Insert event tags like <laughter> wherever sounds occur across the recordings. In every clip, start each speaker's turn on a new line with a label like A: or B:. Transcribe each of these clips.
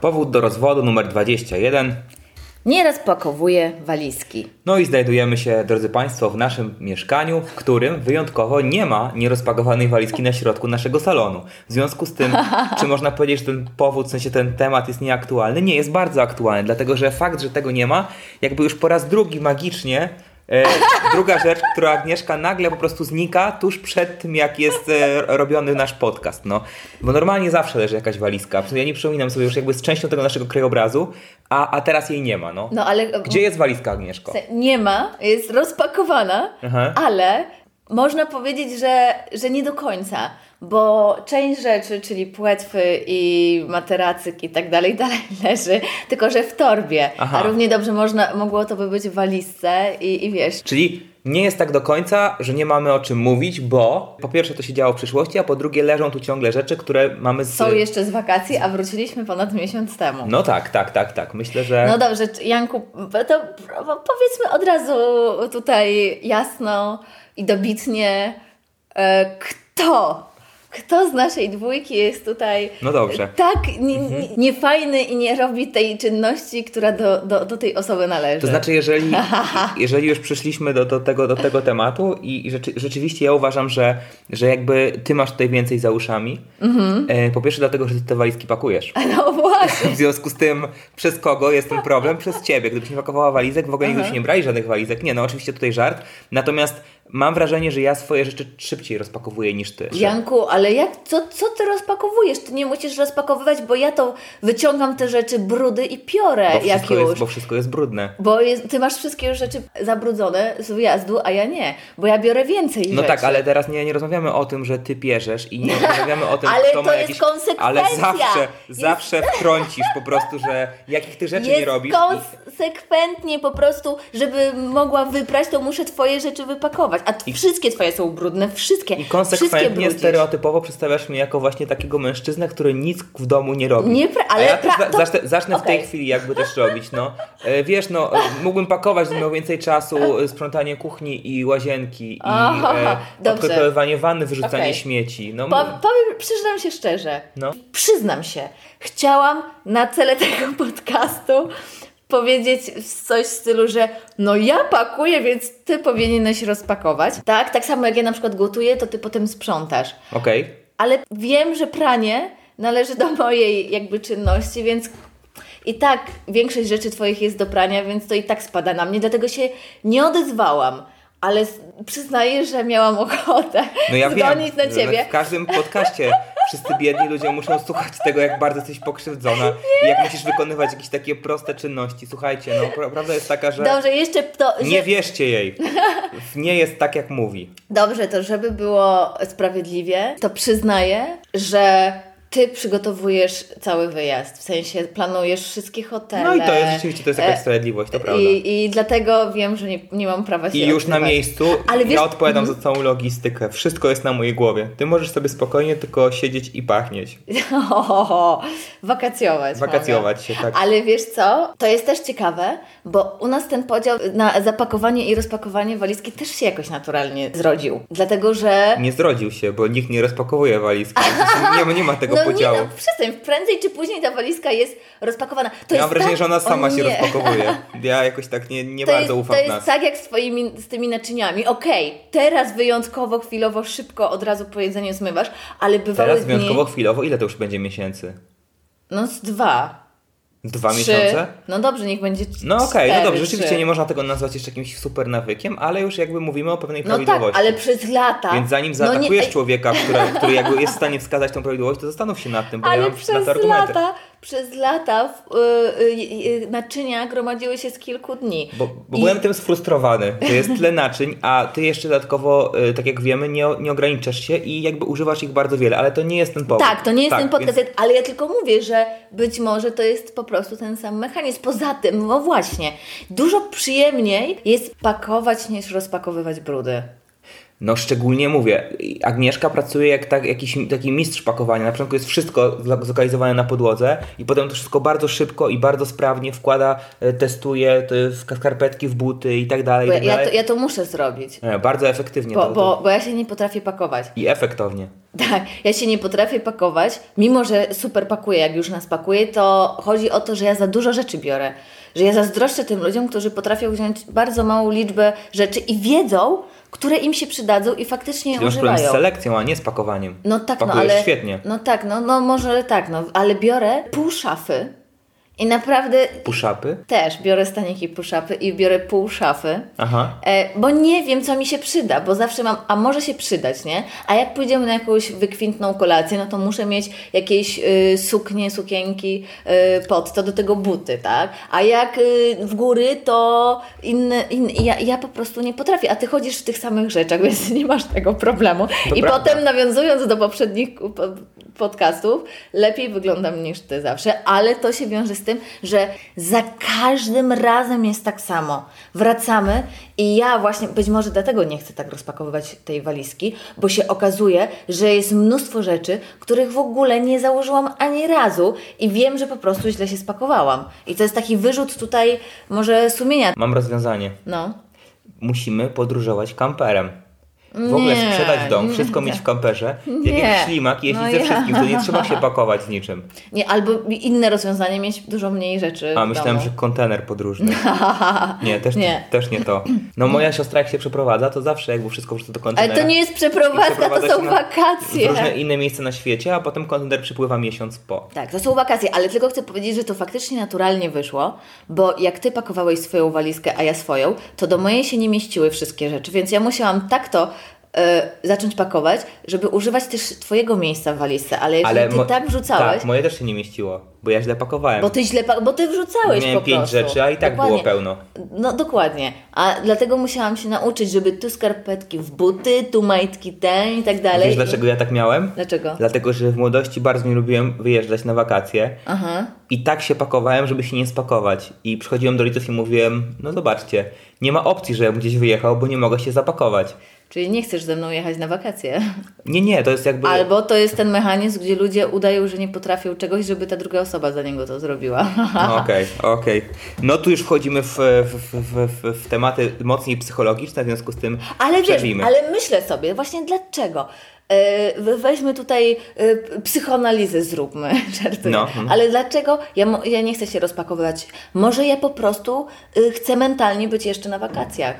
A: Powód do rozwodu numer 21.
B: Nie rozpakowuję walizki.
A: No i znajdujemy się, drodzy Państwo, w naszym mieszkaniu, w którym wyjątkowo nie ma nierozpakowanej walizki na środku naszego salonu. W związku z tym, czy można powiedzieć, że ten powód, w sensie ten temat jest nieaktualny? Nie, jest bardzo aktualny, dlatego że fakt, że tego nie ma, jakby już po raz drugi magicznie. E, druga rzecz, która Agnieszka nagle po prostu znika tuż przed tym, jak jest e, robiony nasz podcast. No. Bo normalnie zawsze leży jakaś walizka. Ja nie przypominam sobie już jakby z częścią tego naszego krajobrazu, a, a teraz jej nie ma. No.
B: No ale
A: Gdzie jest walizka, Agnieszko?
B: Se- nie ma, jest rozpakowana,
A: Aha.
B: ale można powiedzieć, że, że nie do końca, bo część rzeczy, czyli płetwy i materacyk i tak dalej, <laughs> dalej leży, tylko że w torbie.
A: Aha.
B: A równie dobrze można, mogło to by być w walizce i, i wiesz.
A: Czyli nie jest tak do końca, że nie mamy o czym mówić, bo po pierwsze to się działo w przyszłości, a po drugie leżą tu ciągle rzeczy, które mamy z...
B: Są jeszcze z wakacji, a wróciliśmy ponad miesiąc temu.
A: No tak, tak, tak, tak. Myślę, że...
B: No dobrze, czy- Janku, to pro- powiedzmy od razu tutaj jasno i dobitnie, e, kto, kto z naszej dwójki jest tutaj
A: No dobrze. Mhm.
B: tak ni- ni- niefajny i nie robi tej czynności, która do, do, do tej osoby należy.
A: To znaczy,
B: <laughs>
A: jeżeli, jeżeli już przyszliśmy do, do, tego, do tego tematu i, i rzeczy, rzeczywiście ja uważam, że, że jakby ty masz tutaj więcej za uszami.
B: Mhm.
A: E, po pierwsze dlatego, że ty te walizki pakujesz.
B: No właśnie.
A: W związku z tym, przez kogo jest ten problem? Przez ciebie. Gdybyś nie pakowała walizek, w ogóle nigdy się nie brali żadnych walizek. Nie, no oczywiście tutaj żart. Natomiast mam wrażenie, że ja swoje rzeczy szybciej rozpakowuję niż ty.
B: Janku, ale jak, co, co ty rozpakowujesz? Ty nie musisz rozpakowywać, bo ja to wyciągam te rzeczy brudy i piorę,
A: bo,
B: jak
A: wszystko
B: już.
A: jest, bo wszystko jest brudne.
B: Bo jest, ty masz wszystkie już rzeczy zabrudzone z wyjazdu, a ja nie, bo ja biorę więcej
A: No
B: rzeczy.
A: tak, ale teraz nie, nie rozmawiamy o tym, że ty pierzesz
B: <laughs>
A: i nie rozmawiamy o tym,
B: Ale
A: kto ma
B: to jest
A: jakiś...
B: konsekwencja.
A: Ale zawsze,
B: Jest-
A: zawsze wtrącisz po prostu, że jakich ty rzeczy
B: Jest
A: nie robisz. i-
B: konsekwentnie po prostu, żeby mogła wyprać, to muszę twoje rzeczy wypakować. A t- wszystkie twoje są brudne, wszystkie.
A: I
B: wszystkie
A: konsekwentnie,
B: brudzisz.
A: stereotypowo przedstawiasz mnie jako właśnie takiego mężczyznę, który nic w domu nie robi.
B: Nie pra- ale
A: A ja też
B: pra-
A: za-
B: to-
A: zacznę, zacznę w tej
B: okej.
A: chwili jakby też robić, no. E, wiesz, no, e, mógłbym pakować, gdybym miał więcej czasu, e, sprzątanie kuchni i łazienki, i
B: Aha,
A: e,
B: dobrze.
A: odkotowywanie wanny, wyrzucanie
B: Okej.
A: śmieci. No,
B: Po,
A: m-
B: powiem, przyznam się szczerze.
A: No.
B: Przyznam się, chciałam na cele tego <laughs> podcastu powiedzieć coś w stylu, że no ja pakuję, więc ty powinieneś rozpakować. Tak, tak samo jak ja na przykład gotuję, to ty potem sprzątasz.
A: Okej.
B: Ale wiem, że pranie należy do mojej jakby czynności, więc i tak większość rzeczy Twoich jest do prania, więc to i tak spada na mnie, dlatego się nie odezwałam. Ale s- przyznaję, że miałam ochotę
A: No ja
B: zgonić
A: wiem,
B: na
A: że
B: Ciebie.
A: W każdym podcaście wszyscy biedni ludzie muszą słuchać tego, jak bardzo jesteś pokrzywdzona i jak musisz wykonywać jakieś takie proste czynności. Słuchajcie, no pra- prawda jest taka, że
B: Dobrze, jeszcze to... Że...
A: nie wierzcie jej. Nie jest tak, jak mówi.
B: Dobrze, to żeby było sprawiedliwie, to przyznaję, że Ty przygotowujesz cały wyjazd, w sensie planujesz wszystkie hotele.
A: No i to jest rzeczywiście, to jest jakaś
B: E,
A: sprawiedliwość, to prawda. I,
B: I, I dlatego wiem, że nie, nie mam prawa się
A: już na
B: odzywać.
A: miejscu
B: Ale wiesz- Mhm.
A: ja odpowiadam za całą logistykę. Wszystko jest na mojej głowie. Ty możesz sobie spokojnie tylko siedzieć i pachnieć.
B: <laughs> Ho, ho, ho. Wakacjować.
A: Wakacjować
B: mogę.
A: się, tak.
B: Ale wiesz co? To jest też ciekawe, bo u nas ten podział na zapakowanie i rozpakowanie walizki też się jakoś naturalnie zrodził. Dlatego, że.
A: Nie zrodził się, bo nikt nie rozpakowuje walizki. Nie, nie ma tego
B: <laughs> no
A: podziału.
B: nie, no przestań, prędzej czy później ta walizka jest rozpakowana. To
A: Ja
B: jest
A: mam wrażenie,
B: tak...
A: że ona
B: o
A: sama się
B: nie.
A: rozpakowuje. Ja jakoś tak nie, nie bardzo
B: jest,
A: ufam
B: To
A: w
B: jest
A: nas.
B: tak jak z, twoimi, z tymi naczyniami. Okej, teraz wyjątkowo, chwilowo, szybko od razu po jedzeniu zmywasz, ale bywały
A: Teraz
B: dni...
A: wyjątkowo chwilowo, ile to już będzie miesięcy?
B: No z dwa.
A: Dwa
B: trzy.
A: miesiące?
B: No dobrze, niech będzie c-
A: No okej,
B: cztery,
A: no dobrze, rzeczywiście
B: trzy.
A: nie można tego nazwać jeszcze jakimś super nawykiem, ale już jakby mówimy o pewnej
B: No tak,
A: prawidłowości.
B: ale przez lata.
A: Więc zanim
B: No nie-
A: zaatakujesz człowieka, który, który jakby jest w stanie wskazać tą prawidłowość, to zastanów się nad tym, bo ja
B: Ale
A: mam na to
B: przez
A: argumenty.
B: lata przez lata w, y, y, y, naczynia gromadziły się z kilku dni.
A: Bo, bo
B: I-
A: byłem tym sfrustrowany, że jest tyle naczyń, a ty jeszcze dodatkowo, y, tak jak wiemy, nie, nie ograniczasz się i jakby używasz ich bardzo wiele, ale to nie jest ten powód.
B: Tak, to nie jest ten podcast,
A: więc
B: ale ja tylko mówię, że być może to jest po prostu ten sam mechanizm. Poza tym, no właśnie, dużo przyjemniej jest pakować niż rozpakowywać brudy.
A: No szczególnie mówię, Agnieszka pracuje jak tak, jakiś taki mistrz pakowania. Na początku jest wszystko zlo- zlokalizowane na podłodze i potem to wszystko bardzo szybko i bardzo sprawnie wkłada, y, testuje to w skarpetki, w buty i tak dalej.
B: Bo
A: I
B: ja,
A: tak
B: ja, to,
A: dalej.
B: ja to muszę zrobić,
A: E, Bardzo efektywnie
B: bo,
A: to, to.
B: bo, bo ja się nie potrafię pakować.
A: i efektownie.
B: <laughs> Tak, ja się nie potrafię pakować, mimo że super pakuję, jak już nas pakuję, to chodzi o to, że ja za dużo rzeczy biorę. Że ja zazdroszczę tym ludziom, którzy potrafią wziąć bardzo małą liczbę rzeczy i wiedzą, które im się przydadzą i faktycznie je
A: Czyli masz problem z
B: używają.
A: selekcją, a nie z pakowaniem.
B: No tak, no
A: Pakujesz
B: ale.
A: świetnie.
B: No tak, no, no może tak, no ale biorę pół szafy i naprawdę
A: Puszapy?
B: też biorę staniki pół szafy i biorę pół szafy.
A: Aha.
B: E, bo nie wiem, co mi się przyda, bo zawsze mam, a może się przydać, nie? A jak pójdziemy na jakąś wykwintną kolację, no to muszę mieć jakieś y, suknie, sukienki y, pod to, do tego buty, tak? A jak y, w góry, to inne, inne ja, ja po prostu nie potrafię, a ty chodzisz w tych samych rzeczach, <laughs> więc nie masz tego problemu.
A: To
B: I
A: prawda.
B: potem nawiązując do poprzednich ku- po- podcastów, lepiej wyglądam niż ty zawsze, ale to się wiąże z tym, że za każdym razem jest tak samo. Wracamy i ja właśnie, być może dlatego nie chcę tak rozpakowywać tej walizki, bo się okazuje, że jest mnóstwo rzeczy, których w ogóle nie założyłam ani razu i wiem, że po prostu źle się spakowałam. I to jest taki wyrzut tutaj może sumienia.
A: Mam rozwiązanie.
B: No.
A: Musimy podróżować kamperem. W ogóle
B: Nie,
A: sprzedać dom,
B: nie.
A: wszystko mieć w kamperze, jak
B: Nie.
A: jakiś ślimak i jeździć
B: No
A: ze
B: ja.
A: wszystkim, to nie trzeba
B: <laughs>
A: się pakować z niczym.
B: Nie, albo inne rozwiązanie, mieć dużo mniej rzeczy.
A: A
B: w <laughs>
A: myślałem,
B: domu. No,
A: że kontener podróżny. Nie, też nie.
B: Nie.
A: też nie to. No moja siostra jak się przeprowadza, to zawsze jakby wszystko wrzuca do
B: Ale
A: kontenera.
B: to nie jest przeprowadzka, to
A: Przeprowadza się
B: są
A: na- W
B: wakacje.
A: różne inne miejsca na świecie, a potem kontener przypływa miesiąc po.
B: Tak, to są wakacje, ale tylko chcę powiedzieć, że to faktycznie naturalnie wyszło, bo jak ty pakowałeś swoją walizkę, a ja swoją, to do mojej się nie mieściły wszystkie rzeczy, więc ja musiałam tak to e, zacząć pakować, żeby używać też twojego miejsca w walizce, ale jeżeli ty
A: mo-
B: tak wrzucałeś,
A: Tak, moje też się nie mieściło, bo ja źle pakowałem.
B: bo ty źle, pa- bo ty wrzucałeś
A: Miałem
B: po
A: pięć
B: prostu.
A: rzeczy, a i tak
B: Dokładnie.
A: było pełno.
B: No dokładnie, a dlatego musiałam się nauczyć, żeby tu skarpetki w buty, tu majtki ten i tak dalej.
A: Wiesz dlaczego ja tak miałem?
B: Dlaczego?
A: Dlatego, że w młodości bardzo nie lubiłem wyjeżdżać na wakacje
B: Aha.
A: i tak się pakowałem, żeby się nie spakować. I przychodziłem do rodziców i mówiłem, no zobaczcie, nie ma opcji, żebym gdzieś wyjechał, bo nie mogę się zapakować.
B: Czyli nie chcesz ze mną jechać na wakacje.
A: Nie, nie, to jest jakby...
B: Albo to jest ten mechanizm, gdzie ludzie udają, że nie potrafią czegoś, żeby ta druga osoba za niego to zrobiła.
A: No, Okej, okej. No tu już wchodzimy w, w, w, w, w tematy mocniej psychologiczne, w związku z tym
B: Ale wiesz,
A: przerwijmy.
B: ale myślę sobie, właśnie dlaczego? E, we- Weźmy tutaj e, p- psychoanalizę, zróbmy, <laughs> żartuję.
A: No.
B: Ale dlaczego? Ja, mo- ja nie chcę się rozpakowywać. Może ja po prostu y, chcę mentalnie być jeszcze na wakacjach.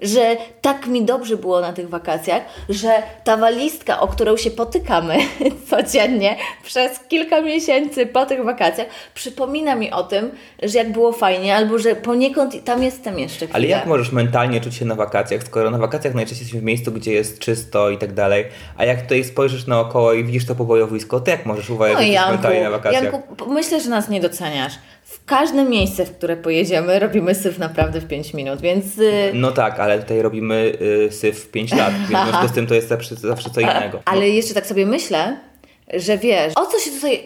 B: Że tak mi dobrze było na tych wakacjach, że ta walizka, o którą się potykamy <laughs> codziennie przez kilka miesięcy po tych wakacjach, przypomina mi o tym, że jak było fajnie, albo że poniekąd tam jestem jeszcze.
A: Ale
B: chwilę.
A: jak możesz mentalnie czuć się na wakacjach, skoro na wakacjach najczęściej jesteś w miejscu, gdzie jest czysto i tak dalej, a jak tutaj spojrzysz naokoło i widzisz to pobojowisko, to jak możesz uważać,
B: No
A: że
B: i
A: jesteś mentalnie na
B: Janku,
A: wakacjach?
B: Janku, p- myślę, że nas nie doceniasz. W każdym miejsce, w które pojedziemy, robimy syf naprawdę w 5 minut, więc y,
A: No tak, ale tutaj robimy y, syf 5 lat,
B: <laughs>
A: więc w związku z tym to jest zawsze, zawsze co innego.
B: Ale jeszcze tak sobie myślę, że wiesz, o co się tutaj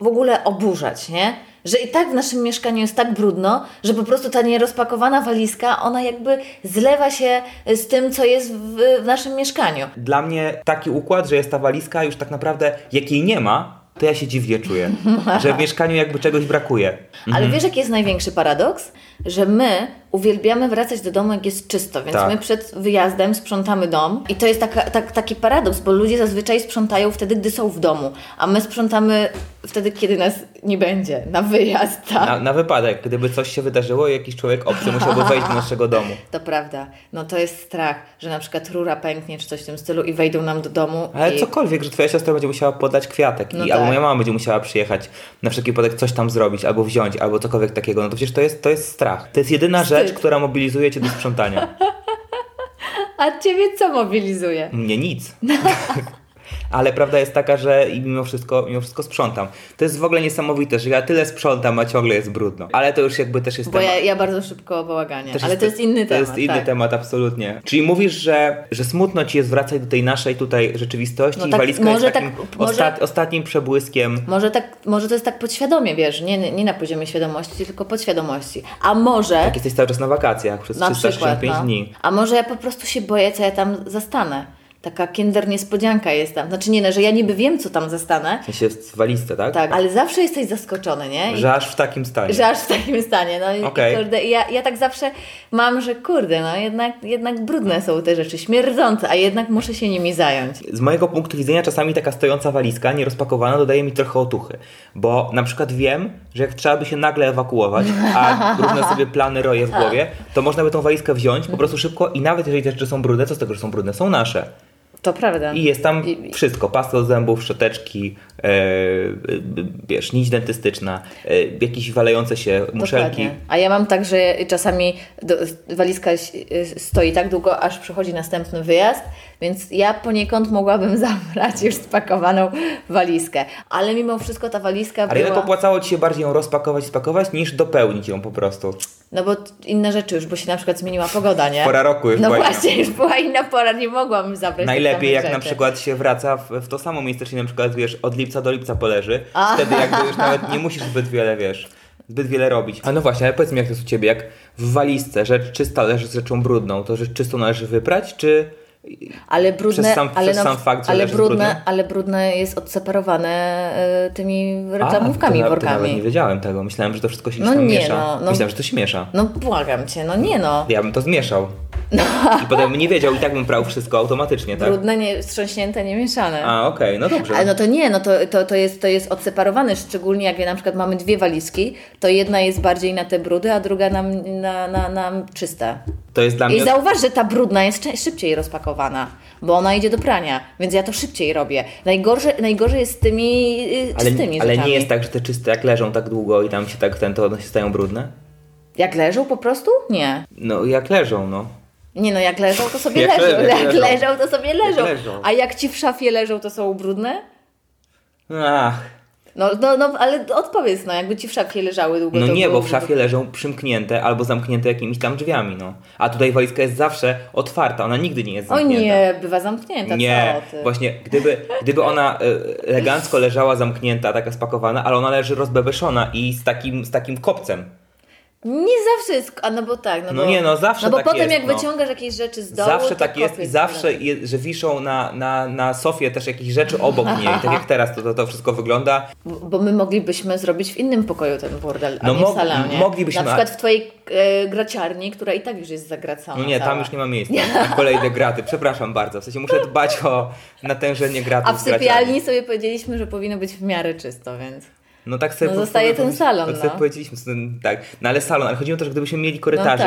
B: w ogóle oburzać, nie? Że i tak w naszym mieszkaniu jest tak brudno, że po prostu ta nierozpakowana walizka, ona jakby zlewa się z tym, co jest w, w naszym mieszkaniu.
A: No, Dla mnie taki układ, że jest ta walizka, już tak naprawdę jak jej nie ma, to ja się dziwnie czuję,
B: <laughs>
A: że w mieszkaniu jakby czegoś brakuje.
B: Ale wiesz, jaki jest największy paradoks? Że my uwielbiamy wracać do domu, jak jest czysto, więc
A: Tak.
B: my przed wyjazdem sprzątamy dom. I to jest taka, tak, taki paradoks, bo ludzie zazwyczaj sprzątają wtedy, gdy są w domu, a my sprzątamy wtedy, kiedy nas nie będzie, na wyjazd, tak?
A: Na, na wypadek, gdyby coś się wydarzyło i jakiś człowiek obcy musiałby wejść do naszego domu.
B: To prawda. No to jest strach, że na przykład rura pęknie czy coś w tym stylu i wejdą nam do domu.
A: Ale
B: i... <laughs>
A: cokolwiek, że twoja siostra będzie musiała podać kwiatek,
B: No
A: i, albo
B: tak.
A: moja mama będzie musiała przyjechać na wszelki wypadek coś tam zrobić, albo wziąć, albo cokolwiek takiego, no to przecież to jest, to jest strach. To jest jedyna
B: Wstyd.
A: rzecz, która mobilizuje cię do
B: <laughs>
A: sprzątania. Mm,
B: A ciebie co mobilizuje?
A: Mnie nic. <laughs> ale prawda jest taka, że i mimo wszystko, mimo wszystko sprzątam. To jest w ogóle niesamowite, że ja tyle sprzątam, a ciągle jest brudno. Ale to już jakby też jest
B: Bo
A: temat.
B: ja, ja bardzo szybko bałaganie,
A: Też
B: ale to jest inny
A: To
B: temat.
A: jest inny
B: tak.
A: temat, absolutnie. Czyli mówisz, że, że smutno ci jest wracać do tej naszej tutaj rzeczywistości
B: No
A: i
B: tak,
A: walizka
B: może
A: jest takim
B: tak, może-
A: ostat, ostatnim przebłyskiem.
B: Może, tak, może to jest tak podświadomie, wiesz, nie, nie nie na poziomie świadomości, tylko podświadomości. A może...
A: Jak jesteś cały czas na wakacjach przez
B: Na przykład,
A: 365
B: no.
A: dni.
B: A może ja po prostu się boję, co ja tam zastanę. Taka kinder niespodzianka jest tam. Znaczy nie, no, że ja niby wiem, co tam zastanę,
A: W sensie w walizce, tak?
B: tak, ale zawsze jesteś zaskoczony, nie? I,
A: Że aż w takim stanie.
B: że aż w takim stanie. No i,
A: Okej.
B: i kurde, i ja, ja tak zawsze mam, że kurde, no jednak, jednak brudne są te rzeczy, śmierdzące, a jednak muszę się nimi zająć.
A: Z mojego punktu widzenia czasami taka stojąca walizka, nierozpakowana, dodaje mi trochę otuchy. Bo na przykład wiem, że jak trzeba by się nagle ewakuować,
B: <laughs>
A: a różne sobie plany roję w
B: Tak.
A: głowie, to można by tą walizkę wziąć po prostu szybko i nawet jeżeli te rzeczy są brudne, co z tego, że są brudne? Są nasze.
B: To prawda.
A: I jest tam
B: I- i-
A: wszystko. Pasta do zębów, szczoteczki, e, wiesz, nić dentystyczna, e, jakieś walejące się muszelki.
B: Dokładnie. A ja mam tak, że czasami do, walizka y, stoi tak długo, aż przychodzi następny wyjazd, więc ja poniekąd mogłabym <laughs> zabrać już spakowaną walizkę. Ale mimo wszystko ta walizka
A: Ale
B: była...
A: jednak opłacało Ci się bardziej ją rozpakować, spakować, niż dopełnić ją po prostu.
B: No bo t- inne rzeczy już, bo się na przykład zmieniła pogoda, nie?
A: Pora roku już
B: No
A: była inna.
B: właśnie, już była inna pora, nie mogłam zabrać
A: Najlepiej
B: tych
A: jak
B: samych
A: na
B: rzeczy.
A: przykład się wraca w, w to samo miejsce, czyli na przykład wiesz, od lipca do lipca poleży,
B: A.
A: wtedy jakby już nawet nie musisz zbyt wiele, wiesz, zbyt wiele robić. A no właśnie, ale powiedz mi jak to jest u Ciebie, jak w walizce rzecz czysta leży z rzeczą brudną, to rzecz czystą należy wyprać, czy...
B: Ale brudne,
A: Przez sam-
B: ale
A: przez sam fakt, że
B: ale
A: leży brudne?
B: brudne, ale brudne jest odseparowane y, tymi reklamówkami,
A: A, to, na- to nawet
B: workami.
A: nie wiedziałem tego, myślałem, że to wszystko się gdzieś
B: No
A: tam
B: nie,
A: miesza.
B: no, no.
A: Myślałem, że to się miesza.
B: No błagam cię, no nie no.
A: Ja bym to zmieszał. I potem bym nie wiedział i tak bym prał wszystko automatycznie, tak?
B: Brudne, nie, wstrząśnięte, niemieszane.
A: A, okej, no dobrze.
B: Ale no to nie, no to, to, to, jest, to jest odseparowane, szczególnie jak na przykład mamy dwie walizki, to jedna jest bardziej na te brudy, a druga na, na, na, na czyste.
A: To jest dla
B: I
A: mnie...
B: zauważ, że ta brudna jest czę- szybciej rozpakowana, bo ona idzie do prania, więc ja to szybciej robię. Najgorzej, najgorzej jest z tymi y,
A: Ale,
B: czystymi
A: ale
B: rzeczami.
A: nie jest tak, że te czyste jak leżą tak długo i tam się tak ten, to one się stają brudne?
B: Jak leżą po prostu? Nie.
A: No jak leżą, no.
B: Nie no, jak leżą, to sobie
A: Jak
B: leżą.
A: le- jak
B: Jak,
A: leżą.
B: leżą, to sobie leżą.
A: leżą.
B: A jak ci w szafie leżą, to są brudne?
A: Ach,
B: No, no, no ale odpowiedz, no, jakby ci w szafie leżały długo.
A: no
B: to
A: nie,
B: było
A: bo w szafie leżą przymknięte albo zamknięte jakimiś tam drzwiami, no. A tutaj walizka jest zawsze otwarta, ona nigdy nie jest
B: O
A: zamknięta.
B: nie, bywa zamknięta.
A: Nie,
B: co ty?
A: właśnie gdyby, gdyby ona y, elegancko leżała zamknięta, taka spakowana, ale ona leży rozbebeszona i z takim, z takim kopcem.
B: Nie zawsze jest, a no bo tak. No,
A: No
B: bo,
A: nie, no zawsze
B: No bo
A: tak
B: potem
A: jest,
B: jak
A: no.
B: wyciągasz jakieś rzeczy z dołu,
A: Zawsze
B: to
A: tak jest i
B: kopiec,
A: zawsze,
B: no.
A: je, że wiszą na, na, na sofie też jakieś rzeczy
B: <laughs>
A: obok niej. Tak jak teraz to, to, to wszystko wygląda.
B: Bo bo my moglibyśmy zrobić w innym pokoju ten burdel, a
A: No
B: nie
A: mo-
B: w salonie.
A: moglibyśmy,
B: Na przykład w twojej e, graciarni, która i tak już jest zagracana.
A: No nie,
B: cała.
A: tam już nie ma miejsca. Na kolejne graty, przepraszam bardzo. W sensie muszę dbać o natężenie gratów.
B: A w
A: z graciami.
B: sypialni sobie powiedzieliśmy, że powinno być w miarę czysto, więc...
A: No tak sobie
B: No
A: po-
B: zostaje
A: sobie
B: ten
A: pomyśl-
B: salon,
A: Tak sobie
B: no.
A: powiedzieliśmy, co ten- tak. No ale salon, ale chodziło też, gdybyśmy mieli korytarzyk.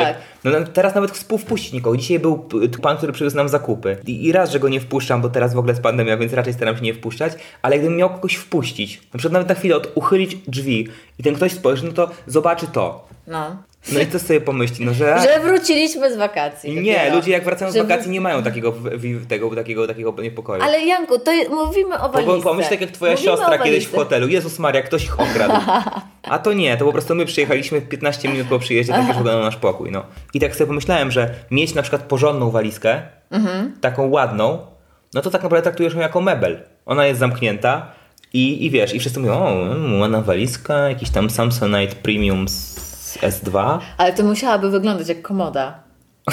B: No
A: No,
B: tak.
A: na- teraz nawet współwpuścić nikogo. Dzisiaj był p- tu pan, który przywiózł nam zakupy. I, I raz, że go nie wpuszczam, bo teraz w ogóle jest pandemia, więc raczej staram się nie wpuszczać, ale gdybym miał kogoś wpuścić, na przykład nawet na chwilę od, uchylić drzwi i ten ktoś spojrzy, no to zobaczy to.
B: No.
A: No i co sobie pomyśli, no że...
B: <laughs> Że wróciliśmy z wakacji.
A: Nie,
B: dopiero.
A: ludzie jak wracają z
B: Że
A: wakacji nie mają takiego, w- w- tego, takiego, taego niepokoju.
B: Ale Janku, to je- mówimy o walizce.
A: Bo pomyśl tak jak twoja
B: Mówimy o
A: siostra kiedyś w
B: walizce.
A: hotelu. Jezus Maria, ktoś ich okradł. A to nie, to po prostu my przyjechaliśmy 15 minut po przyjeździe, tak już wyglądał nasz pokój. No. I tak sobie pomyślałem, że mieć na przykład porządną walizkę,
B: Mhm.
A: taką ładną, no to tak naprawdę traktujesz ją jako mebel. Ona jest zamknięta i, i wiesz, i wszyscy mówią, o, mm, ładna walizka, jakiś tam Samsonite Premium s- S2.
B: Ale to musiałaby wyglądać jak komoda.
A: <laughs>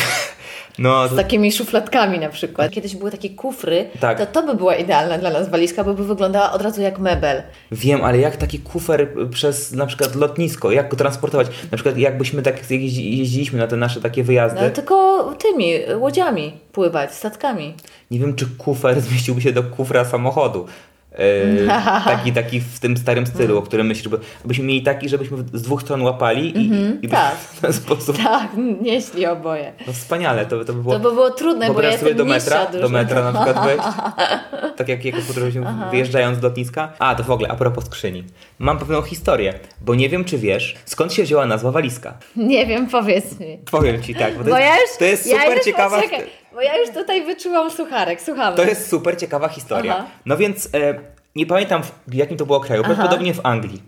A: No,
B: Z
A: to,
B: takimi szufladkami na przykład. Kiedyś były takie kufry,
A: Tak.
B: to to by była idealna dla nas walizka, bo by wyglądała od razu jak mebel.
A: Wiem, ale jak taki kufer y, przez na przykład lotnisko, jak go transportować? Na przykład jakbyśmy tak jeździ- jeździliśmy na te nasze takie wyjazdy.
B: No ale tylko tymi łodziami pływać, statkami. <laughs>
A: Nie wiem, czy kufer <laughs> zmieściłby się do kufra samochodu.
B: <laughs>
A: Yy, taki, taki w tym starym
B: No.
A: stylu, o którym myślisz, bo byśmy mieli taki, żebyśmy z dwóch stron łapali i, i byśmy
B: tak.
A: <laughs> w ten sposób.
B: Tak, nieśli oboje.
A: No wspaniale, to, by- to by było.
B: To by było trudne, bo ja
A: Wyobraź sobie
B: jestem
A: do metra,
B: niższa dużo.
A: do metra na przykład
B: <laughs>
A: wejść. Tak jak jako podróżnił wyjeżdżając z lotniska. A, to w ogóle, a propos skrzyni. Mam pewną historię, bo nie wiem, czy wiesz, skąd się wzięła nazwa walizka.
B: Nie wiem, powiedz mi.
A: Powiem ci tak, bo to
B: Bo
A: jest,
B: ja już,
A: to jest
B: ja
A: super
B: już,
A: ciekawa.
B: Poczekaj, Bo ja już tutaj wyczułam sucharek, słuchamy.
A: To jest super ciekawa historia.
B: Aha.
A: No więc e, nie pamiętam w jakim to było kraju, prawdopodobnie w Anglii.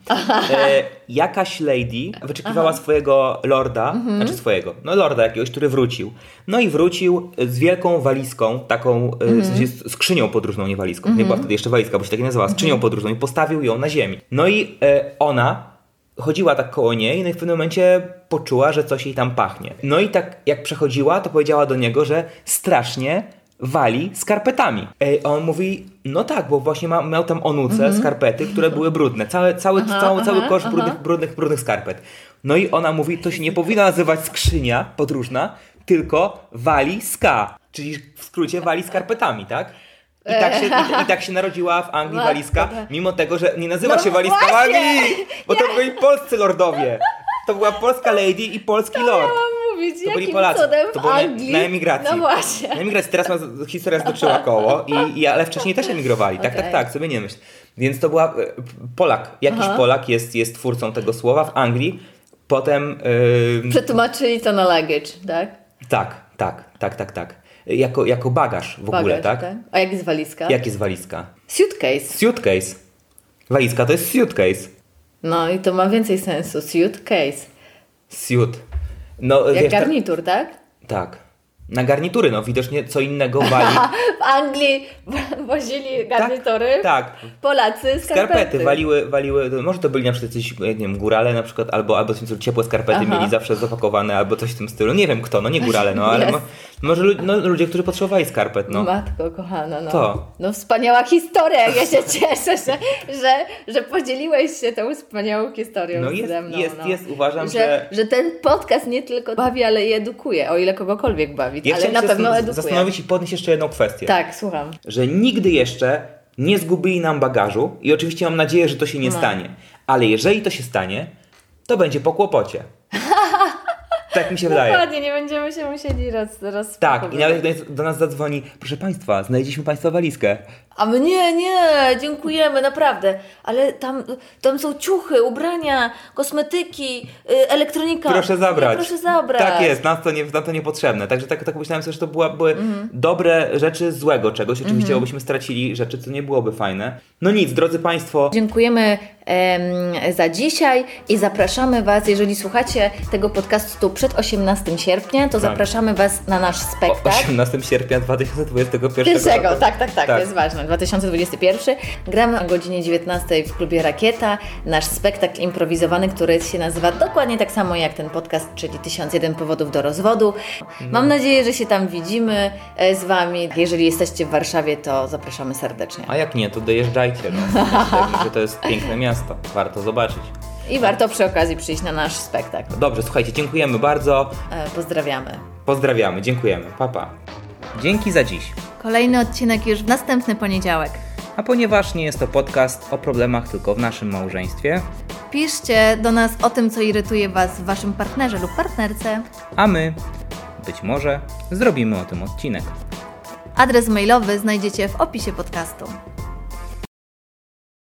A: E, jakaś lady wyczekiwała swojego lorda, znaczy swojego, no lorda jakiegoś, który wrócił. No i wrócił z wielką walizką, taką e, w sensie z- skrzynią podróżną, nie walizką. Nie była wtedy jeszcze walizka, bo się tak nie nazywała, skrzynią podróżną i postawił ją na ziemi. No i e, ona chodziła tak koło niej, no i w pewnym momencie poczuła, że coś jej tam pachnie. No i tak jak przechodziła, to powiedziała do niego, że strasznie wali skarpetami. Ej, a on mówi, no tak, bo właśnie ma, miał tam onuce, skarpety, które były brudne. Cały, cały, cały, cały
B: Mhm. aha,
A: kosz
B: aha.
A: brudnych, brudnych, brudnych skarpet. No i ona mówi, to się nie powinno nazywać skrzynia podróżna, tylko wali ska. Czyli w skrócie wali skarpetami, tak? I tak, się, i, I tak się narodziła w Anglii
B: Matko,
A: walizka,
B: tak.
A: mimo tego, że nie nazywa
B: No
A: się walizka w
B: właśnie!
A: Anglii! Bo to byli polscy lordowie. To była polska lady i polski lord.
B: Chciałam mówić,
A: To byli
B: Tak. jakim
A: Polacy.
B: cudem
A: To
B: w
A: było na,
B: Anglii.
A: na emigracji.
B: No właśnie.
A: Na emigracji. Teraz ma, historia zdoczyła koło, i, i, ale wcześniej też emigrowali. Tak, tak,
B: Okej.
A: tak, sobie nie myśl. Więc to była e, Polak. Jakiś
B: Aha.
A: Polak jest, jest twórcą tego słowa w Anglii. Potem... ym,
B: Przetłumaczyli to na luggage, tak?
A: tak, tak, tak, tak, tak. Jako, jako bagaż w ogóle,
B: Bagaż,
A: tak?
B: A jak jest walizka?
A: Jak jest walizka?
B: Suitcase.
A: Suitcase. Walizka to jest suitcase.
B: No i to ma więcej sensu. Suitcase.
A: Suit. No,
B: Jak
A: wiesz, tak-
B: garnitur, tak? <laughs>
A: Tak. Na garnitury, no widocznie co innego
B: <laughs>
A: wali.
B: W Anglii wozili garnitury.
A: Tak.
B: Polacy skarpety.
A: Skarpety waliły, waliły, no może to byli na przykład jakieś, nie wiem, górale na przykład, albo, albo coś, ciepłe skarpety
B: Aha.
A: mieli zawsze zapakowane, albo coś w tym stylu. Nie wiem kto, no nie górale, no ale
B: Yes.
A: mo, może lu- no, ludzie, którzy potrzebowali skarpet, no.
B: Matko kochana, no.
A: To.
B: No wspaniała historia. Ja się <laughs> cieszę, że, że, że podzieliłeś się tą wspaniałą historią
A: No
B: ze
A: jest,
B: mną.
A: jest,
B: no.
A: jest, uważam, że...
B: że, że ten podcast nie tylko bawi, ale i edukuje, o ile kogokolwiek bawi,
A: Ja
B: ale
A: chciałem
B: na
A: się
B: pewno
A: zastan-
B: edukuje.
A: zastanowić i podnieść jeszcze jedną kwestię.
B: Tak, słucham.
A: że nigdy jeszcze nie zgubili nam bagażu i oczywiście mam nadzieję, że to się nie
B: No.
A: stanie. Ale jeżeli to się stanie, to będzie po kłopocie.
B: <laughs>
A: Tak mi się wydaje.
B: Dokładnie, nie będziemy się musieli raz, raz
A: Tak, i nawet jak do- do nas zadzwoni, proszę Państwa, znaleźliśmy Państwa walizkę.
B: A my nie, nie, dziękujemy, naprawdę. Ale tam, tam są ciuchy, ubrania, kosmetyki, y, elektronika.
A: Proszę zabrać.
B: Nie, proszę zabrać.
A: Tak jest, nam to, nie, nam to niepotrzebne. Także tak, tak myślałem sobie, że to była, były
B: Mhm.
A: dobre rzeczy złego czegoś. Oczywiście, bo byśmy stracili rzeczy, co nie byłoby fajne. No nic, drodzy Państwo,
B: Dziękujemy em, za dzisiaj i zapraszamy Was, jeżeli słuchacie tego podcastu przed 18 sierpnia, to zapraszamy Was na nasz
A: Tak. o
B: spektakl.
A: 18 sierpnia 2021
B: tak? Pierwszego,
A: roku.
B: tak, tak, tak,
A: Tak.
B: to jest ważne. 2021. Gramy o godzinie 19 w klubie Rakieta. Nasz spektakl improwizowany, który się nazywa dokładnie tak samo jak ten podcast, czyli 1001 powodów do rozwodu. Mam nadzieję, że się tam widzimy e, z Wami. Jeżeli jesteście w Warszawie, to zapraszamy serdecznie.
A: A jak nie, to dojeżdżajcie.
B: <laughs>
A: No. Myślę, że to jest piękne miasto. Warto zobaczyć.
B: I warto przy okazji przyjść na nasz spektakl.
A: Dobrze, słuchajcie, dziękujemy bardzo.
B: E, Pozdrawiamy.
A: Pozdrawiamy, dziękujemy. Pa, pa. Dzięki za dziś.
C: Kolejny odcinek już w następny poniedziałek.
A: A ponieważ nie jest to podcast o problemach tylko w naszym małżeństwie,
C: Piszcie do nas o tym, co irytuje Was w Waszym partnerze lub partnerce.
A: a my, być może, zrobimy o tym odcinek.
C: Adres mailowy znajdziecie w opisie podcastu.